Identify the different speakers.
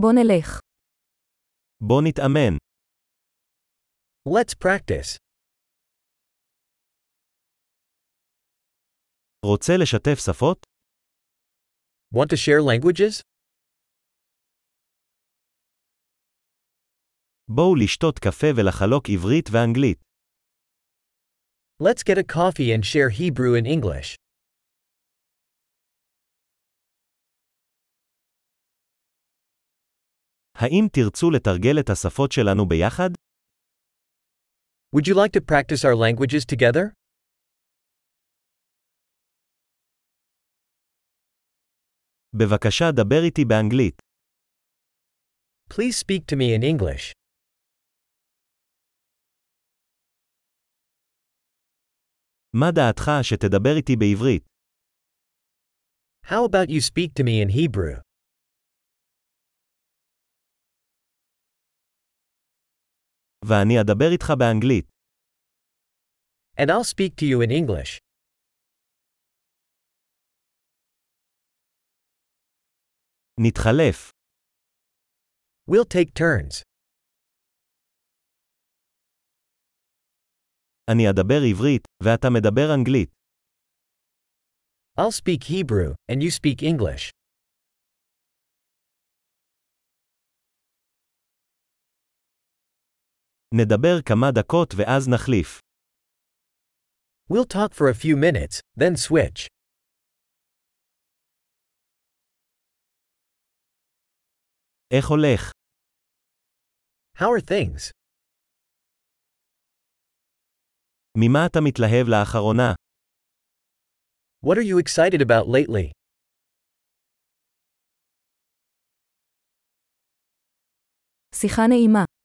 Speaker 1: בוא נלך.
Speaker 2: בוא נתאמן.
Speaker 3: Let's practice.
Speaker 2: רוצה לשתף שפות?
Speaker 3: Want to share languages?
Speaker 2: בואו לשתות קפה ולחלוק עברית ואנגלית.
Speaker 3: Let's get a coffee and share Hebrew and English.
Speaker 2: האם תרצו לתרגל את השפות שלנו ביחד?
Speaker 3: Would you like to practice our languages together?
Speaker 2: בבקשה דבר איתי באנגלית.
Speaker 3: Please speak to me in English.
Speaker 2: מה דעתך שתדבר איתי בעברית?
Speaker 3: How about you speak to me in Hebrew?
Speaker 2: ואני אדבר איתך באנגלית.
Speaker 3: And I'll speak to you in English.
Speaker 2: נתחלף.
Speaker 3: We'll take turns.
Speaker 2: אני אדבר עברית, ואתה מדבר אנגלית.
Speaker 3: I'll speak Hebrew, and you speak English.
Speaker 2: נדבר כמה דקות ואז נחליף.
Speaker 3: We'll talk for a few minutes, then switch.
Speaker 2: איך הולך?
Speaker 3: How are things?
Speaker 2: ממה אתה מתלהב לאחרונה?
Speaker 3: What are you excited about lately?
Speaker 1: שיחה נעימה.